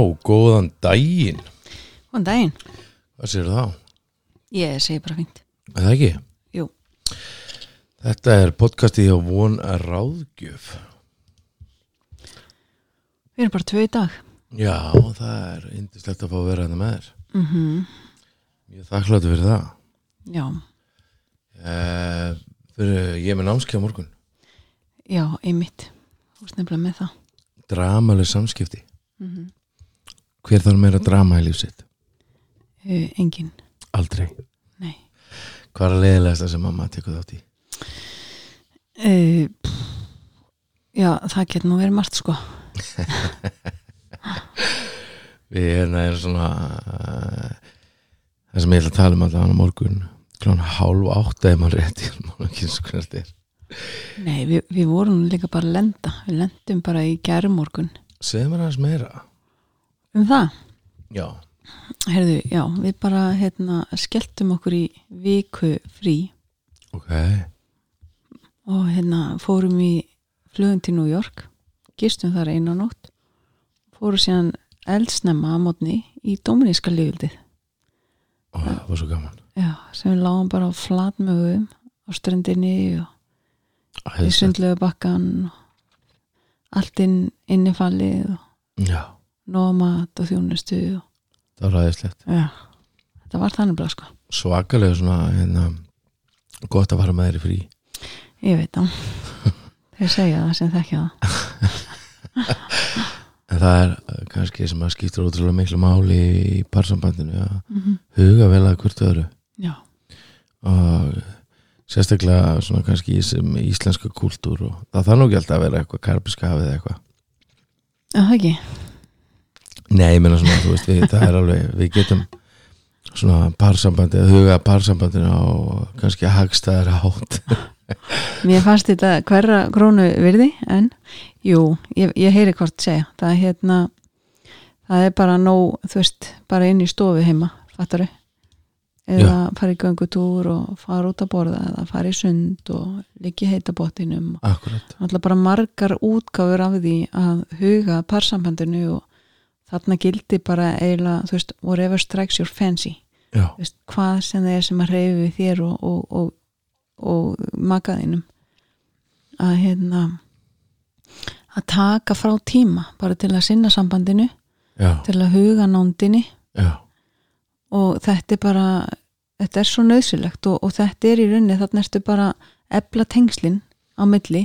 Góðan daginn Góðan daginn. Hvað sér þá? Ég segi bara fínt. Er það ekki? Jú. Þetta er podcastið hjá Von Ráðgjöf Við erum bara tvö í dag. Já, það er indislegt að fá að vera hérna með þér mm -hmm. Ég er þakkláttu fyrir það Já. Eh, fyrir, Ég er með námskeið á morgun Já, einmitt. Þú veist nefnilega með það. Dramaleg samskipti Mhm. Hver þarf meira drama í líf sitt? Uh, engin. Aldrei Nei. Hvað er leiðilegasta sem mamma tekur þátt í? Uh, já, það getur nú verið margt sko. Við hérna er svona eh, það sem ég ætla að tala um allan á morgun klón hálf átt eða maður rétt sko, ég maður ekki eins og hvernig þetta er Nei, við, við vorum líka bara að lenda. Við lendum bara í gærumorgun. segðu mér aðeins meira Um það, já, heyrðu, já, við bara hérna skelltum okkur í viku frí ok og hérna fórum í flugum til New York, gistum þar eina nótt, fórum síðan eldsnemma að mótni í Dominíska lífildið. Ó, það var svo gaman Já, sem við lágum bara á flatmögum á ströndinni og í Æðislegt. sundlegu bakkan og allt inn innifallið og já, nóg af mat og þjónustu og, það var aðeinslegt já, þetta var þannig bara sko svakalega svona hérna, gott að fara með þér í frí ég veit það þeir segja það sem þekkja það en það er eh, kannski sem að skiptur ótrúlega miklu máli í parsambandinu að huga vel að hvert öðru já, og sérstaklega svona kannski í sem íslenska kultúr og það þarf nú ekki alltaf að vera eitthvað karpiska hafið eða eitthvað en það ekki Nei, ég meina svona, þú veist, við, það er alveg við getum svona parsambandi að huga að parsambandinu á kannski hagstæðar hátt mér fannst þetta hverra grónu virði en jú, ég, ég heyri hvort segja það er hérna það er bara nóg, þú veist, bara inn í stofu heima, fattaru eða fara í göngutúr og fara út að borða eða fara í sund og liggja í heita bóttinum Akkurat, alltaf bara margar útgáfur af því að huga parsambandinu og þarna gildi bara eiginlega, þú veist, whatever strikes your fancy já, Þú veist, hvað sem það er sem að reyfi við þér og, og, og, og makaðinum að hérna að taka frá tíma bara til að sinna sambandinu já, til að huga nándinni já og þetta er bara þetta er svo nöðsilegt og, og þetta er í rauninni þarna ertu bara að ebla tengslin á milli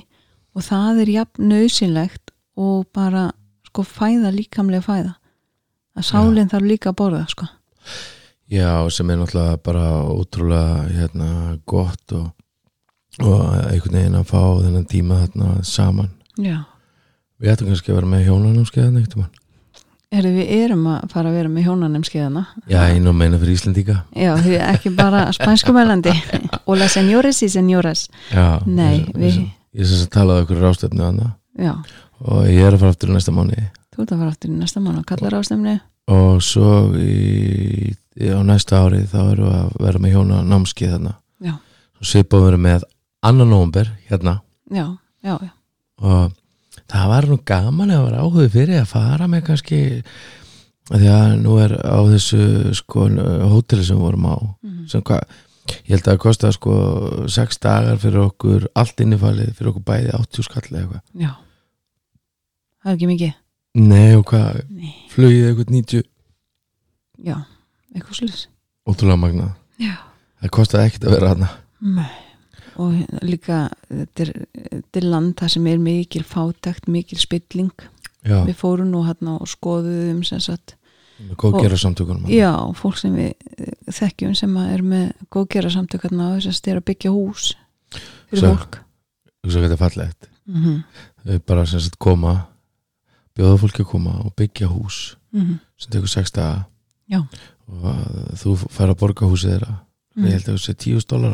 og það er jafn nöðsilegt og bara sko fæða líkamlega fæða að sálinn þarf líka að borða sko Já, sem er náttúrulega bara ótrúlega hérna, gott og, og einhvern veginn að fá þennan tíma þarna saman Já, Við ættum kannski að vera með hjónanum skeiðan eitt um hann Herri, við erum að fara að vera með hjónanemskeiðana. Já, einu og meina fyrir Íslendinga Já, því ekki bara spænskumælandi. Hola senores y senores. Já, Nei, ég, við- ég, ég sem sem talaði okkur rástöfnu annað Já, og ég er að fara aftur í næsta mánu þú ert að fara aftur í næsta mann og kallar ástemni. og svo í, í, á næsta ári þá erum við að vera með hjóna námskið þarna Já, og svipað verið með annan nómber hérna já, já, já. og það var nú gaman að vera áhugði fyrir að fara með kannski af því að nú er á þessu sko hóteli sem við vorum á Mhm. sem hvað, ég held að það kosta sko sex dagar fyrir okkur allt innifalið fyrir okkur bæði 80 skall eða eitthvað já. Það er ekki mikið. Nei og hvað, Nei. flugið eitthvað 90 Já, eitthvað sluss. ótrúlega magnað, Já. það kostaði ekkert að vera hana Nei. Mm. Og líka, þetta er, þetta er land það sem er mikil fátækt, mikil spilling. Já, Við fórum nú hérna og skoðuðum sem sagt með góðgera samtökunum Já, fólk sem við eh, þekkjum sem að er með góðgera samtökarna og þess að styrja að byggja hús fyrir Sem- fólk Svo þetta er fallegt mm -hmm. Þau bara sem sagt koma bjóða fólki að koma og byggja hús mhm, sem tekur sex daga Já. og að þú fær að borga húsið þeirra Mm. ég held að þú sé tíus dólar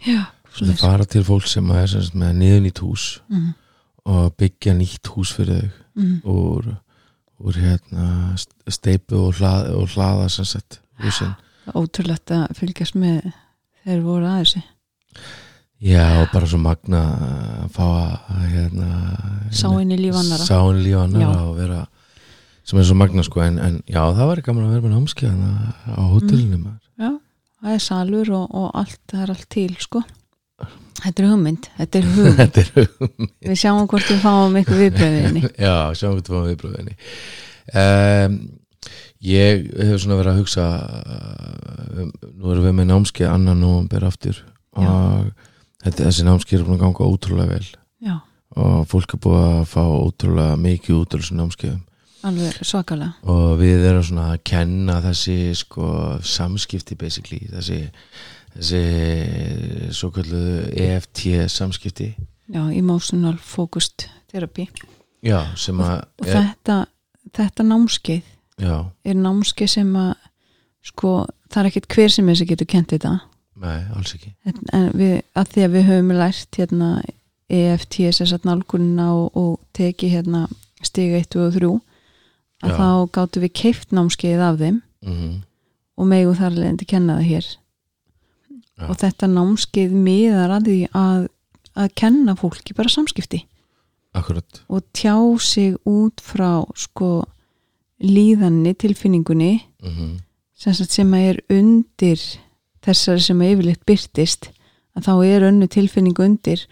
Já, sem þau fara til fólk sem er sem sagt, með niðurnýtt hús mm og byggja nýtt hús fyrir þau -hmm. úr, úr hérna st- steypu og hlaða, og hlaða sem sagt húsin Ótrúlegt að fylgjast með þegar voru að þessu Já, og bara svo magna að fá að hérna Sáin í líf annara sáin líf annara Já. og vera sem er svo magna sko en, en já það var gaman að vera með námskeið þarna á hótelinu mm. já, það er salur og, og allt, það er allt til sko þetta er hugmynd, þetta er hug þetta er við sjáum hvort við fáum ykkur viðbröðinni já sjáum við tvað viðbröðinni um, ég hef svona verið að hugsa eh, um, nú erum við með námskeið annan nóvumber aftur Já. og þetta, þessi námskeið er búin að ganga ótrúlega vel já, og fólk er búið að fá ótrúlega mikið út úr þessum námskeiðum alveg svakalega og við erum svona að kenna þessi sko samskipti basically þessi, þessi svo kalluðu EFT samskipti já, emotional focused therapy já, sem og að er, þetta, þetta námskeið já, er námskeið sem að sko, það er ekkit hver sem er sem getur kent þetta nei, alls ekki en, en við, að því að við höfum lært hérna EFT þess að nálgunina og, og teki hérna stiga 1 og 3 að Já. þá gáttum við keift námskeið af þeim mm og megu þar leðandi kenna það hér Já. og þetta námskeið miðar að því að, að kenna fólki bara samskipti akkurat, og tjá sig út frá sko líðanni, tilfinningunni mm sem, sagt, sem að er undir þessari sem að yfirleitt byrtist að þá er önnu tilfinning undir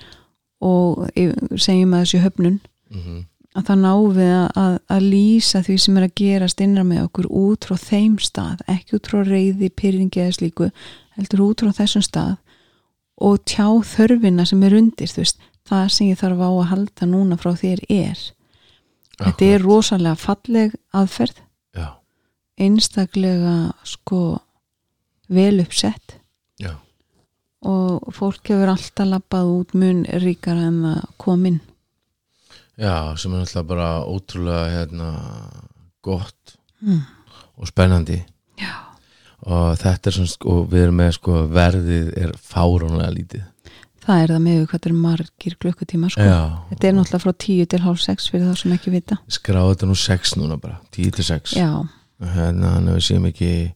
og yf- segjum að þessu höfnun mhm. að þá náum við að, að, að lýsa því sem er að gerast innra með okkur út frá þeim stað, ekki út frá reyði, pyrringi eða slíku, heldur út frá þessum stað og tjá þörfina sem er undir, þú veist, það sem ég þarf á að halda núna frá þér er. Þetta er rosalega falleg aðferð, já, einstaklega sko vel uppsett já, og fólk hefur alltaf labbað út mun ríkara en það kom inn. já, sem er náttúrulega bara ótrúlega hérna gott Mm. og spennandi Já. og þetta er svona sko, við erum með sko verðið er fáránlega lítið Það er það með hvað þetta er margir klukkutíma sko. já, Þetta er náttúrulega frá 10 til hálf 6 fyrir þá sem ekki vita. skráðu þetta nú 6 núna bara 10 til 6 Já, hérna, þannig að við séum ekki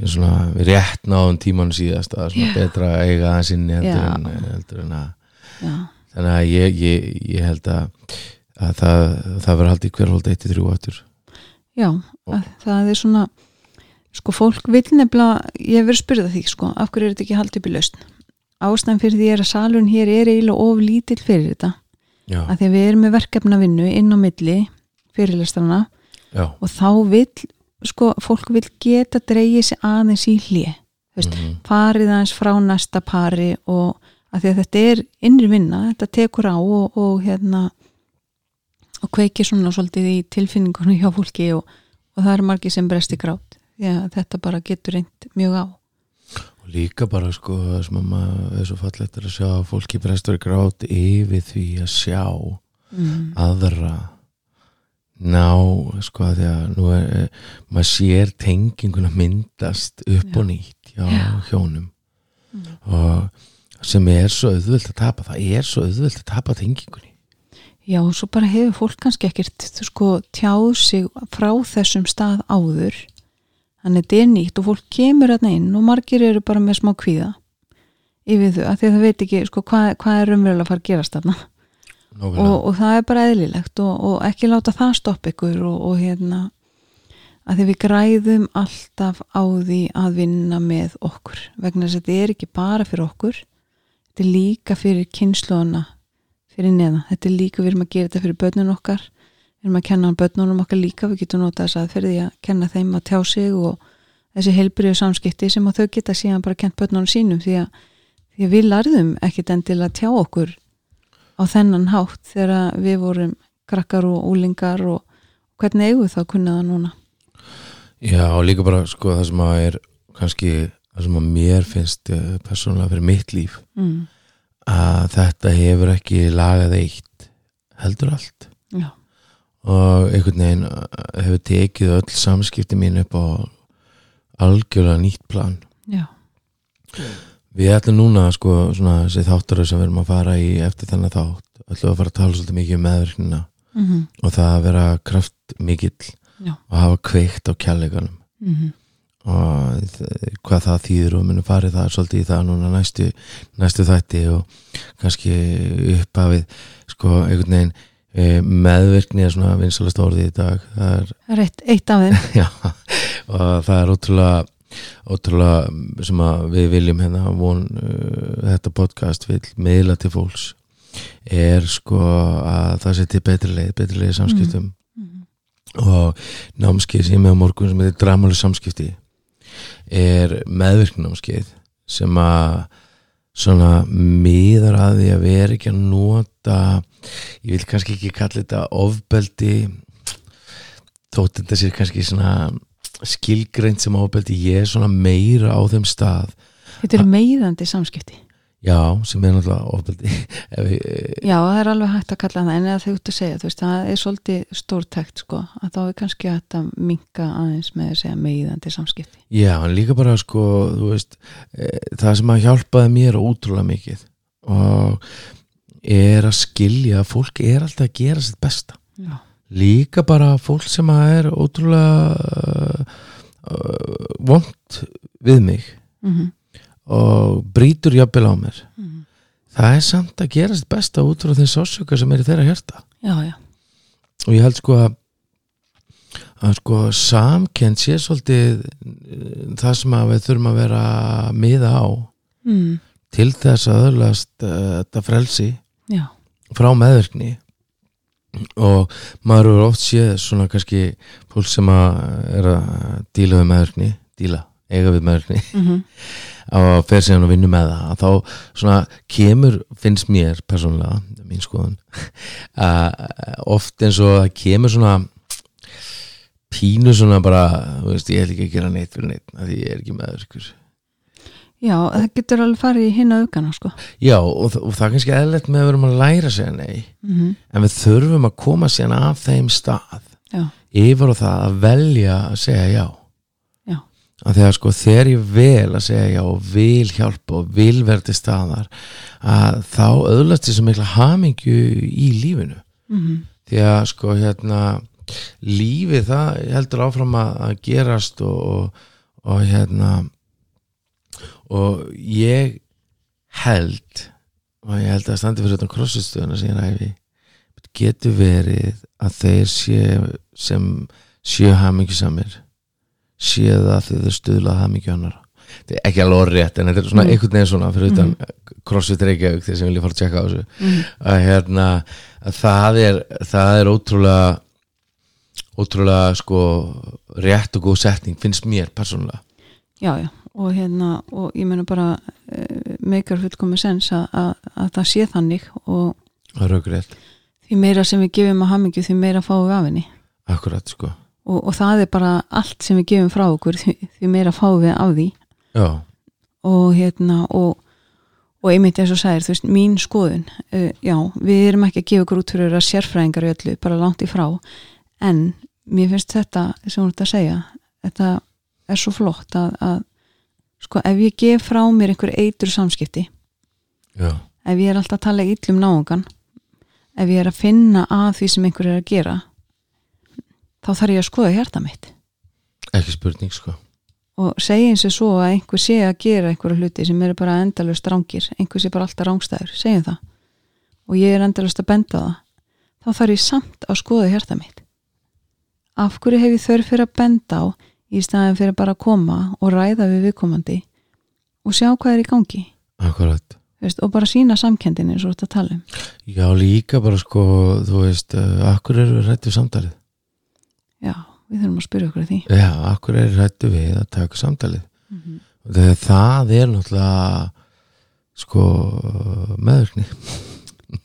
við svona við rétt náðum tíman síðast að það er svona Já. betra að eiga aðeins inni heldur Já. en, eh, heldur en að já, þannig að ég, ég, ég held að, að það, það verður haldið hver hólda 1-3 áttur já, að, það er svona, sko fólk vil nefnilega, ég hef verið að spyrða því sko, af hverju er þetta ekki haldið upp í lausn? Ástæðan fyrir því er að salun hér er eiginlega of lítill fyrir þetta, já, að því að við erum með verkefnavinnu inn á milli fyrirlestrana já, og þá vil, sko, fólk vil geta dreigið sér aðeins í hlið, þú veist, mhm, farið aðeins frá næsta pari og að því að þetta er innri vinna, þetta tekur á og, og hérna og kveikir svona svolítið í tilfinningunum hjá fólki og, og það er margir sem bresti grátt því að þetta bara getur reynd mjög á og líka bara sko það sem að maður er svo fallegt er að sjá að fólki brestur í grát yfir því að sjá mm. aðra ná sko að því að nú er, eh, maður sér tenginguna myndast upp Já. og nýtt já, Já. hjónum Mm. og sem er svo auðvöld að tapa það er svo auðvöld að tapa tengingunni Já, og svo bara hefur fólk kannski ekkert þú sko tjáð sig frá þessum stað áður þannig þetta er nýtt og fólk kemur að inn og margir eru bara með smá kvíða yfir þau, að því að það veit ekki sko, hvað, hvað er raunverulega að fara að gerast þarna Nákvæmlega. og, og það er bara eðlilegt og, og ekki láta það stoppa ykkur og, og hérna að því við græðum alltaf á því að vinna með okkur vegna þess að þetta er ekki bara fyrir okkur þetta er líka fyrir kynsluðuna fyrir neðan, þetta er líka við erum að gera þetta fyrir börnun okkar við erum að kenna börnunum okkar líka við getum notað þess að fyrir því að kenna þeim að tjá sig og þessi heilbriðu samskipti sem að þau geta síðan bara kent börnunum sínum því að, því að við larðum ekkit endilega að tjá okkur á þennan hátt þegar að við vorum krakkar og úlingar og hvernig eigum við það að kunna það núna já og líka bara sko það sem að er kannski það sem að mér finnst eh, persónulega fyrir mitt líf mm. að þetta hefur ekki lagað eitt heldur allt já, og einhvern veginn eh, hefur tekið öll samskipti mín upp á algjörlega nýtt plan já, Við ætlum núna sko svona þessi þáttur sem við erum að fara í eftir þennan þátt ætlum að fara að tala svolítið mikið um meðverknina mm -hmm. og það að vera kraftmikill Já. og hafa kveikt á kjærleikanum Mm -hmm. og þ- hvað það þýður og munum farið það svolítið í það núna næstu, næstu þætti og kannski upphafið sko einhvern veginn Eh, meðvirkni er svona vinsalast orðið í dag það er, það er eitt, eitt af þeim já, og það er ótrúlega ótrúlega sem að við viljum hérna von, uh, þetta podcast vil meðla til fólks er sko að það sé til betri leið, betri leið í samskiptum Mhm. og námskeið sem ég er með á morgun sem heitir dramalu samskipti er meðvirkni námskeið sem að svona miðar að því að vera ekki að nota ég vil kannski ekki kalla þetta ofbeldi þótt þetta sér kannski svona skilgreint sem ofbeldi ég er svona meira á þeim stað þetta eru meiðandi samskipti já, sem er náttúrulega ofbeldi ef við, já, það er alveg hægt að kalla það en eða þau út að segja, þú veist, það er svolítið stórtækt sko, að þá er kannski hægt að minka aðeins með að segja meiðandi samskipti já, en líka bara sko þú veist, e, það sem að hjálpaði mér ótrúlega mikið og er að skilja að fólk er alltaf að gera sitt besta já, líka bara fólk sem að er ótrúlega uh, uh, vond við mig mm og brýtur jafnvel á mér Mhm. það er samt að gera sitt besta út frá þeim sásöka sem er í þeirra hjarta já, já, og ég held sko að að sko samkend sé svolítið uh, það sem að við þurfum að vera að miða á mm. til þess að öðlast uh, þetta frelsi já. frá meðverkni og maður eru oft séð svona kannski fólk sem að er að díla við meðverkni díla, eiga við meðverkni Mm að fer síðan og vinnu með það að þá svona kemur, finnst mér persónulega, mín skoðun að eh, oft eins og það kemur svona pínu svona bara, þú veist, ég ætla ekki að gera neitt fyrir neitt, af því ég er ekki meður ykkur já, það getur alveg farið í hinna aukana sko Já, og, þa- og það er kannski eðlætt með að verðum að læra að segja nei mm en við þurfum að koma síðan af þeim stað já, yfir á það að velja að segja já já, að þegar sko þegar ég vel að segja já og vil hjálpa og vil vera til staðar að þá öðlast þessu mikla hamingju í lífinu mm því að sko hérna lífið það heldur áfram að, að gerast og, og, og hérna og ég held og ég held að standi fyrir þetta krossistöðuna sem ég ræfi getur verið að þeir sé, sem séu hamingjusamir séu það því þeir stuðla hamingju annar þetta er ekki alveg orðrétt en þetta er svona Mm. einhvern veginn svona fyrir utan crossfit reykjavík þeir sem vilja fara að tjekka á þessu Mm. að hérna að það er, það er ótrúlega ótrúlega sko rétt og góð setning finnst mér persónulega já, já og hérna, og ég meina bara uh, meikar fullkomu sens að, að, að það sé þannig og það er aukur rétt, því meira sem við gefum að hamingju því meira fáum við af henni akkurat sko og, og það er bara allt sem við gefum frá okkur því, því meira fáum við af því já, og hérna og, og einmitt eins og sæðir, þú veist, mín skoðun uh, já, við erum ekki að gefa okkur út fyrir að vera sérfræðingar í öllu, bara langt í frá en mér finnst þetta sem hún ert að segja, þetta er svo flott að, að sko, ef ég gef frá mér einhver eitur samskipti já, ef ég er alltaf að tala illum náungan ef ég er að finna að því sem einhver er að gera þá þarf ég að skoða hjarta mitt ekki spurning sko og segja eins og svo að einhver sé að gera einhverja hluti sem eru bara endalust rángir einhver sé bara alltaf rángstæður, segjum það og ég er endalust að benda á það þá þarf ég samt að skoða hjarta mitt af hverju hef ég þörf fyrir að benda á í staðin fyrir bara að koma og ræða við viðkomandi og sjá hvað er í gangi akkurat, þú veist, og bara sína samkendin eins og þetta tala um já líka bara sko þú veist, uh, akkur eru rættu samtalið já, við þurfum að spyrja okkur að því já, akkur eru rættu við að taka samtalið og þegar það er náttúrulega sko meðurkni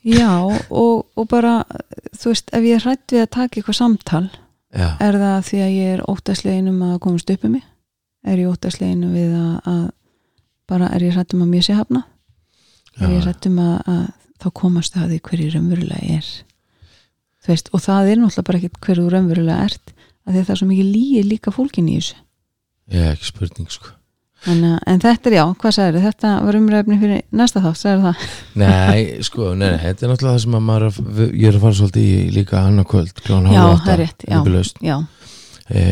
já, og, og bara þú veist, ef ég rætt við að taka eitthvað samtal já, Er það því að ég er óttaslegin um að komast upp um mig? Er ég óttaslegin við að, að bara er ég hrætt um að mér sé hafna? Er ég já, hrætt um að, að þá komast það að því hverju raunverulega er? Þú veist, og það er náttúrulega bara ekkert hverju raunverulega ert að því að það er svo mikið líi líka fólkin í þessu. já, ekki spurning sko En, eh, en þetta er já, hvað sagði þetta var umræfni fyrir næsta þátt, sagði það. Nei, sko, nei, nei, þetta er náttúrulega það sem að maður, er að- ég er að fara svolítið í líka annað kvöld, klán Já, hálfa átta, það er rétt, já. Nýbýlaust. Já, e,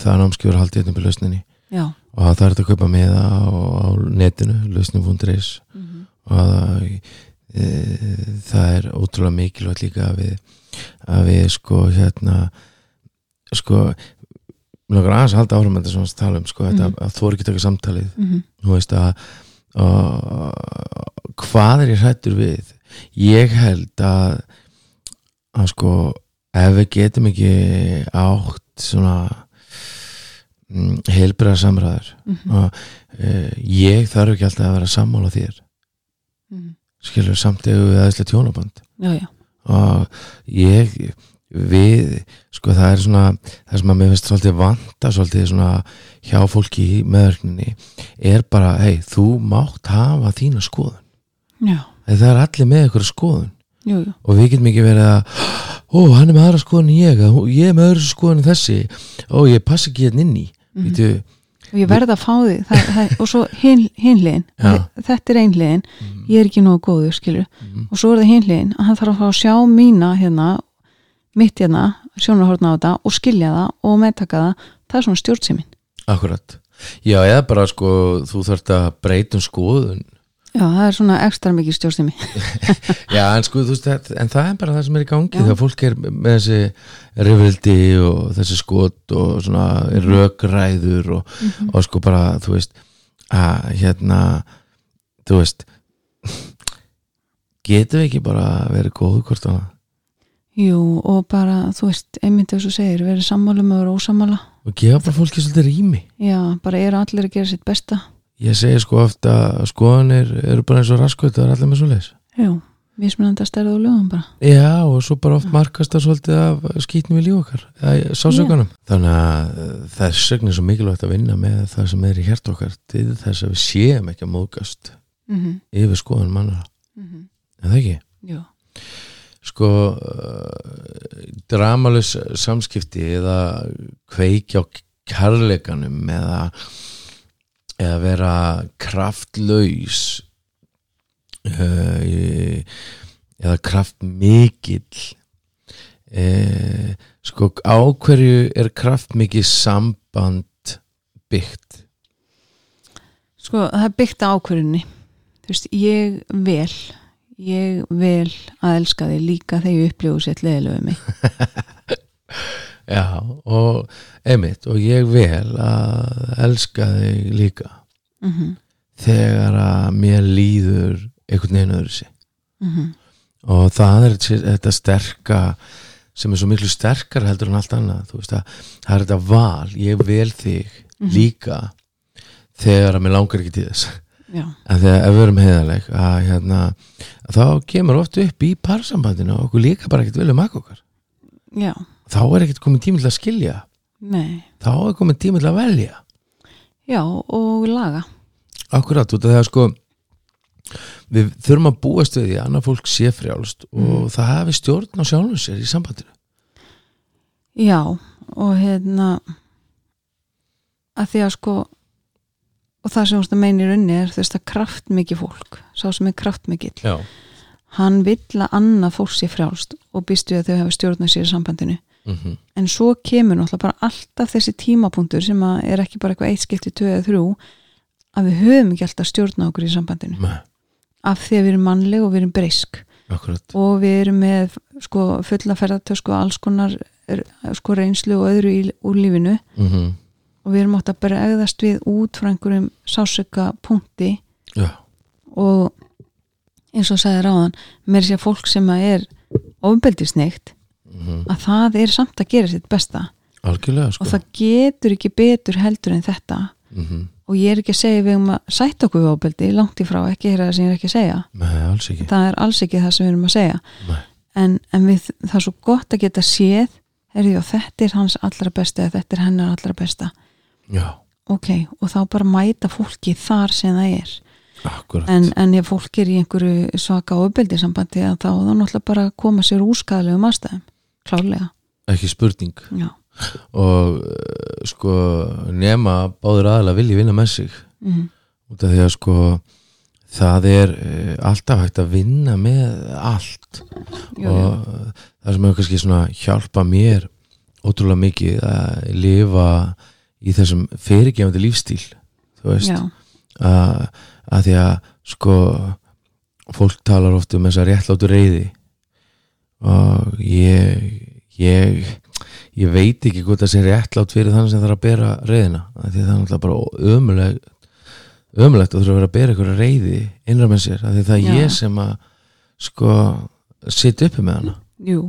það er námskjöfur haldið hérna byrja lausninni já, og það er þetta að kaupa með það á, á netinu, lausnum.is Mhm. og það, eh, það er ótrúlega mikilvægt líka að við að við sko hérna sko mér langar aðeins að halda áhrum þetta sem við tala um sko þetta Mhm. að þú er ekki taka samtalið mm -hmm. þú veist að og, hvað er ég hrættur við ég held að að sko ef við getum ekki átt svona mm, heilbæra samræður uh, ég þarf ekki alltaf að vera sammála þér skilur samt eða við aðeinslega tjónaband Mhm. já, já, og ég við, sko það er svona það sem að mér finnst svolítið vanta svolítið svona hjá fólki í meðörkninni er bara, hei, þú mátt hafa þína skoðun já, Þegar það er allir með ykkur skoðun jú, jú og við getum ekki verið að ó, hann er með aðra skoðun en ég eða, ég er með aðra skoðun en þessi ó, ég passi ekki hérna inn í mm Mhm. og ég verð að fá því það, það, og svo hin- hinliðin Já. þetta er einliðin, ég er ekki nógu góður skilur, Mhm. og svo er það hinliðin að hann þarf að fá að sjá mína hérna mitt hérna, sjónarhortna á þetta og skilja það og meðtaka það það er svona stjórnsimin akkurat já, eða bara sko, þú þarft að breytum skoðun já, það er svona ekstra mikið stjórnsimi Já, en sko, þú veist, það, en það er bara það sem er í gangi Já. þegar fólk er með þessi rifrildi og þessi skot og svona rökræður og, og sko bara, þú veist að hérna þú veist getum við ekki bara verið góðu hvort hana jú, og bara, þú veist, einmitt þess að segir verið sammála með að vera ósammála og gefa bara fólki svolítið rými já, bara eru allir að gera sitt besta ég segi sko oft að skoðanir eru bara eins og raskut, það er allir með svo leis jú, mismunandi að stærða og lögum bara Já, og svo bara oft markast það svolítið af skýtnum í líf okkar, eða sásökunum. Þannig að uh, þess vegna er svo mikilvægt að vinna með það sem er í hjert okkar til þess að við séum ekki að móðgast mm -hmm. yfir skoðan manna, en það ekki. mhm. jú, Sko, uh, dramalus samskipti eða kveikja á kærleikanum eða, eða vera kraftlaus uh, í- eða kraftmikill uh, sko á hverju er kraftmikill samband byggt Sko, það er byggt á ákvörunni. Þú veist, ég vel, ég vel að elska þig líka þegar ég upplifu sér leðilegu mig. Já, og einmitt og ég vel að elska þig líka Mm -hmm. þegar að mér líður einhvern veginn öðru sig Mm -hmm. og það er þetta sterka sem er svo miklu sterkar heldur en allt annað þú veist að það er þetta val ég vel þig líka þegar að mér langar ekki til þess Já, en þegar ef við erum heiðaleg að hérna að þá kemur oft upp í parsambandinu og okkur líka bara ekkert vel um að okkar já, þá er ekkert komið tími til að skilja nei, þá er komið tími til að velja já og laga. Akkurat, út af það sko við þurfum að búast við því að annað fólk sé frjálst Mm. og það hafi stjórn á sjálfum sér í sambandinu Já, og hérna, að því að sko, og það sem þú veist að meina í raunni er þú veist að kraftmikið fólk, sá sem er kraftmikill, Já, hann vill að annað fólk sér frjálst og býst við að þau hafa stjórnað sér í sambandinu. mm -hmm. en svo kemur náttúrulega bara alltaf þessi tímapunktur sem að er ekki bara eitthvað eitt skipti, tvö eða þrjú að við höfum ekki alltaf stjórna okkur í sambandinu af því að við erum mannleg og við erum breysk akkurat og við erum með sko fulla ferðartösku og alls konar er, sko reynslu og öðru í, úr lífinu mm og við erum átt að bara egðast við út frá einhverjum sásöka punkti Já, og eins og sagði ráðan mér sé að segja fólk sem að er ofbeldisneikt mm að það er samt að gera sitt besta algjörlega sko og það getur ekki betur heldur en þetta mm og ég er ekki að segja við um að sætta okkur við ofbeldi langt í frá, ekki heyra það sem ég er ekki að segja Nei, alls ekki það er alls ekki það sem við erum að segja Nei. en, en við, það er svo gott að geta séð herri, og þetta er hans allra besta eða þetta er hennar allra besta Já, ok, og þá bara mæta fólki þar sem það er akkurat en, en ef fólk er í einhverju svaka ofbeldi sambandi þá þá er það náttúrulega bara að koma sér úrskaðlegum aðstæðum klálega, ekki spurning já og uh, sko nema báður aðalega vilji vinna með sig mm. út af því að sko það er uh, alltaf hægt að vinna með allt Jú, jú. og það sem hefur kannski svona hjálpa mér ótrúlega mikið að lifa í þessum fyrirgefandi lífstíl þú veist já, að, að því að sko fólk talar oft um þessa réttlátu reyði og ég ég, ég veit ekki hvort það sé réttlátt fyrir þannig sem þarf að bera reyðina af því það er náttúrulega bara ömuleg ömulegt að þurfa að vera að bera einhverja reyði innra með sér, af því það er Já. ég sem að sko sitt uppi með hana jú,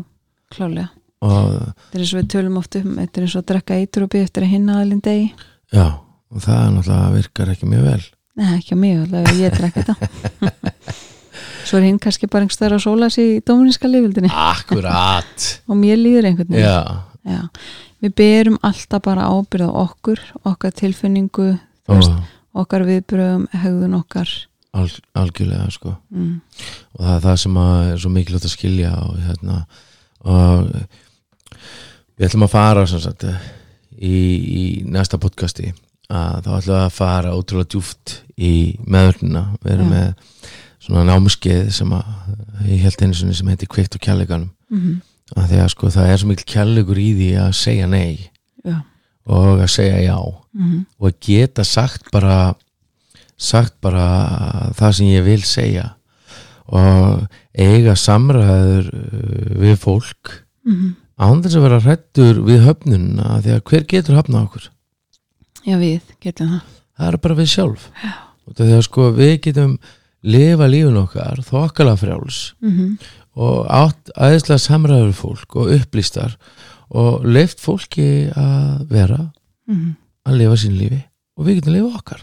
klálega og þetta er eins og við tölum oft um þetta er eins og að drekka eitur og býð eftir að hinna aðlinn degi já, og það er náttúrulega virkar ekki mjög vel Nei, ekki á mig, allavega ég drekka þetta Svo er hinn kannski bara einhvers þar að sóla sér í dómuníska lifildinni Akkurat og mér líður einhvern veginn Já, Já. Við berum alltaf bara ábyrð á okkur, okkar tilfinningu þú og veist, okkar viðbröðum, hegðun okkar al, algjörlega sko mm. og það er það sem að er svo mikilvægt að skilja og hérna og við ætlum að fara sem sagt í, í næsta podcasti að þá ætlum við að fara ótrúlega djúft í meðurnina við erum Já. með svona námskeið sem að ég held einu sinni sem heiti kveikt og kjærleikanum Mm að því að sko það er svo mikil kjærleikur í því að segja nei Já. og að segja já Mm og að geta sagt bara sagt bara það sem ég vil segja og eiga samræður uh, við fólk -hmm. án þess að vera hrættur við höfnunna af því að hver getur höfna okkur Já, við getum það það er bara við sjálf og því að sko við getum lifa lífun okkar þokkala frjáls mm og átt aðeinslega samræður við fólk og upplýstar og leift fólki að vera Mhm. að lifa sín lífi og við getum lifa okkar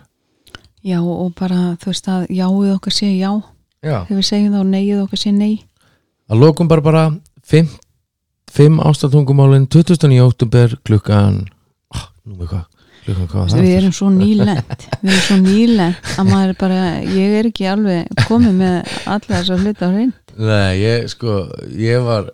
Já, og bara þú veist að jáið okkar sé já Já. þegar við segjum þá neyið okkar sé nei að lokum bara bara 5, 5 ástatungumálin 2009. oktober klukkan oh, nú með hvað klukkan hvað var það Við aftur? erum svo nýlend Við erum svo nýlend að maður er bara ég er ekki alveg komið með alla þessar hluta á hrein Nei, ég sko ég var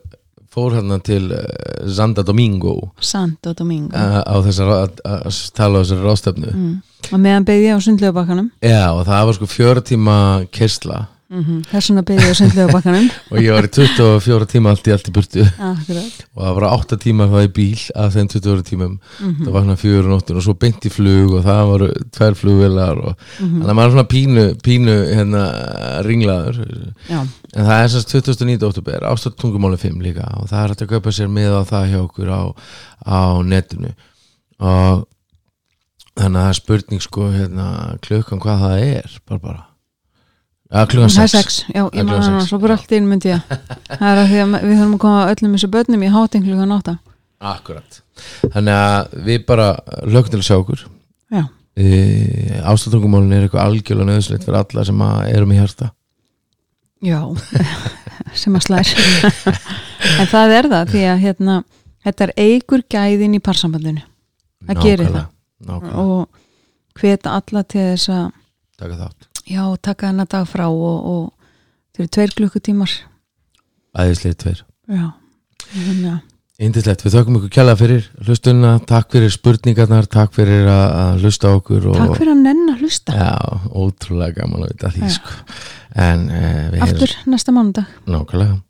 fór hérna til uh, Zanda Domingo Santo Domingo uh, á þessar að að tala á þessari ráðstefnu mm. Og meðan beðið ég á sundlöfabakkanum já og það var sko fjöra tíma kessla mm Þess vegna beðið ég á sundlöfabakkanum og ég var í 24 tíma allt í allt í burtu Akkurat og það var 8 tíma það í bíl af þeim 24 tímum Mhm. það var svona fjögur og nóttun og svo beint í flug og það var tvær flugvelar og Mhm. þannig að maður er svona pínu, pínu hérna ringlaður Já, en það er semst 2009. óttúber ástætt tungumáli 5 líka og það er hægt að kaupa sér með á það hjá okkur á, á netinu og þannig að það er spurning sko hérna klukkan hvað það er bara bara ja, klukkan það er 6 sex, Það er já, ég man klukkan hana sex. svo bara allt inn myndi ég það er að því að við þurfum að koma öllum þessu börnum í hátinn klukkan átta akkurat þannig að við bara lögum til að sjá okkur Já, e, ástættungumálin er eitthvað algjörlega nöðsleitt fyrir alla sem að erum í hjarta já sem að slær en það er það því að hérna þetta er eigur gæðin í parsambandinu Það gerir Nákvæmlega, nákvæmlega, og hveta alla til þess að taka þátt já, taka hennar dag frá og, og þeir eru tveir klukkutímar Æðislega tveir já, þannig að Indislegt, við þökkum ykkur kjalla fyrir hlustunna, takk fyrir spurningarnar takk fyrir að að hlusta á okkur og, takk fyrir að nenn að hlusta Já, ótrúlega gaman að vita af því Já. sko. en e, við aftur næsta mánudag nákvæmlega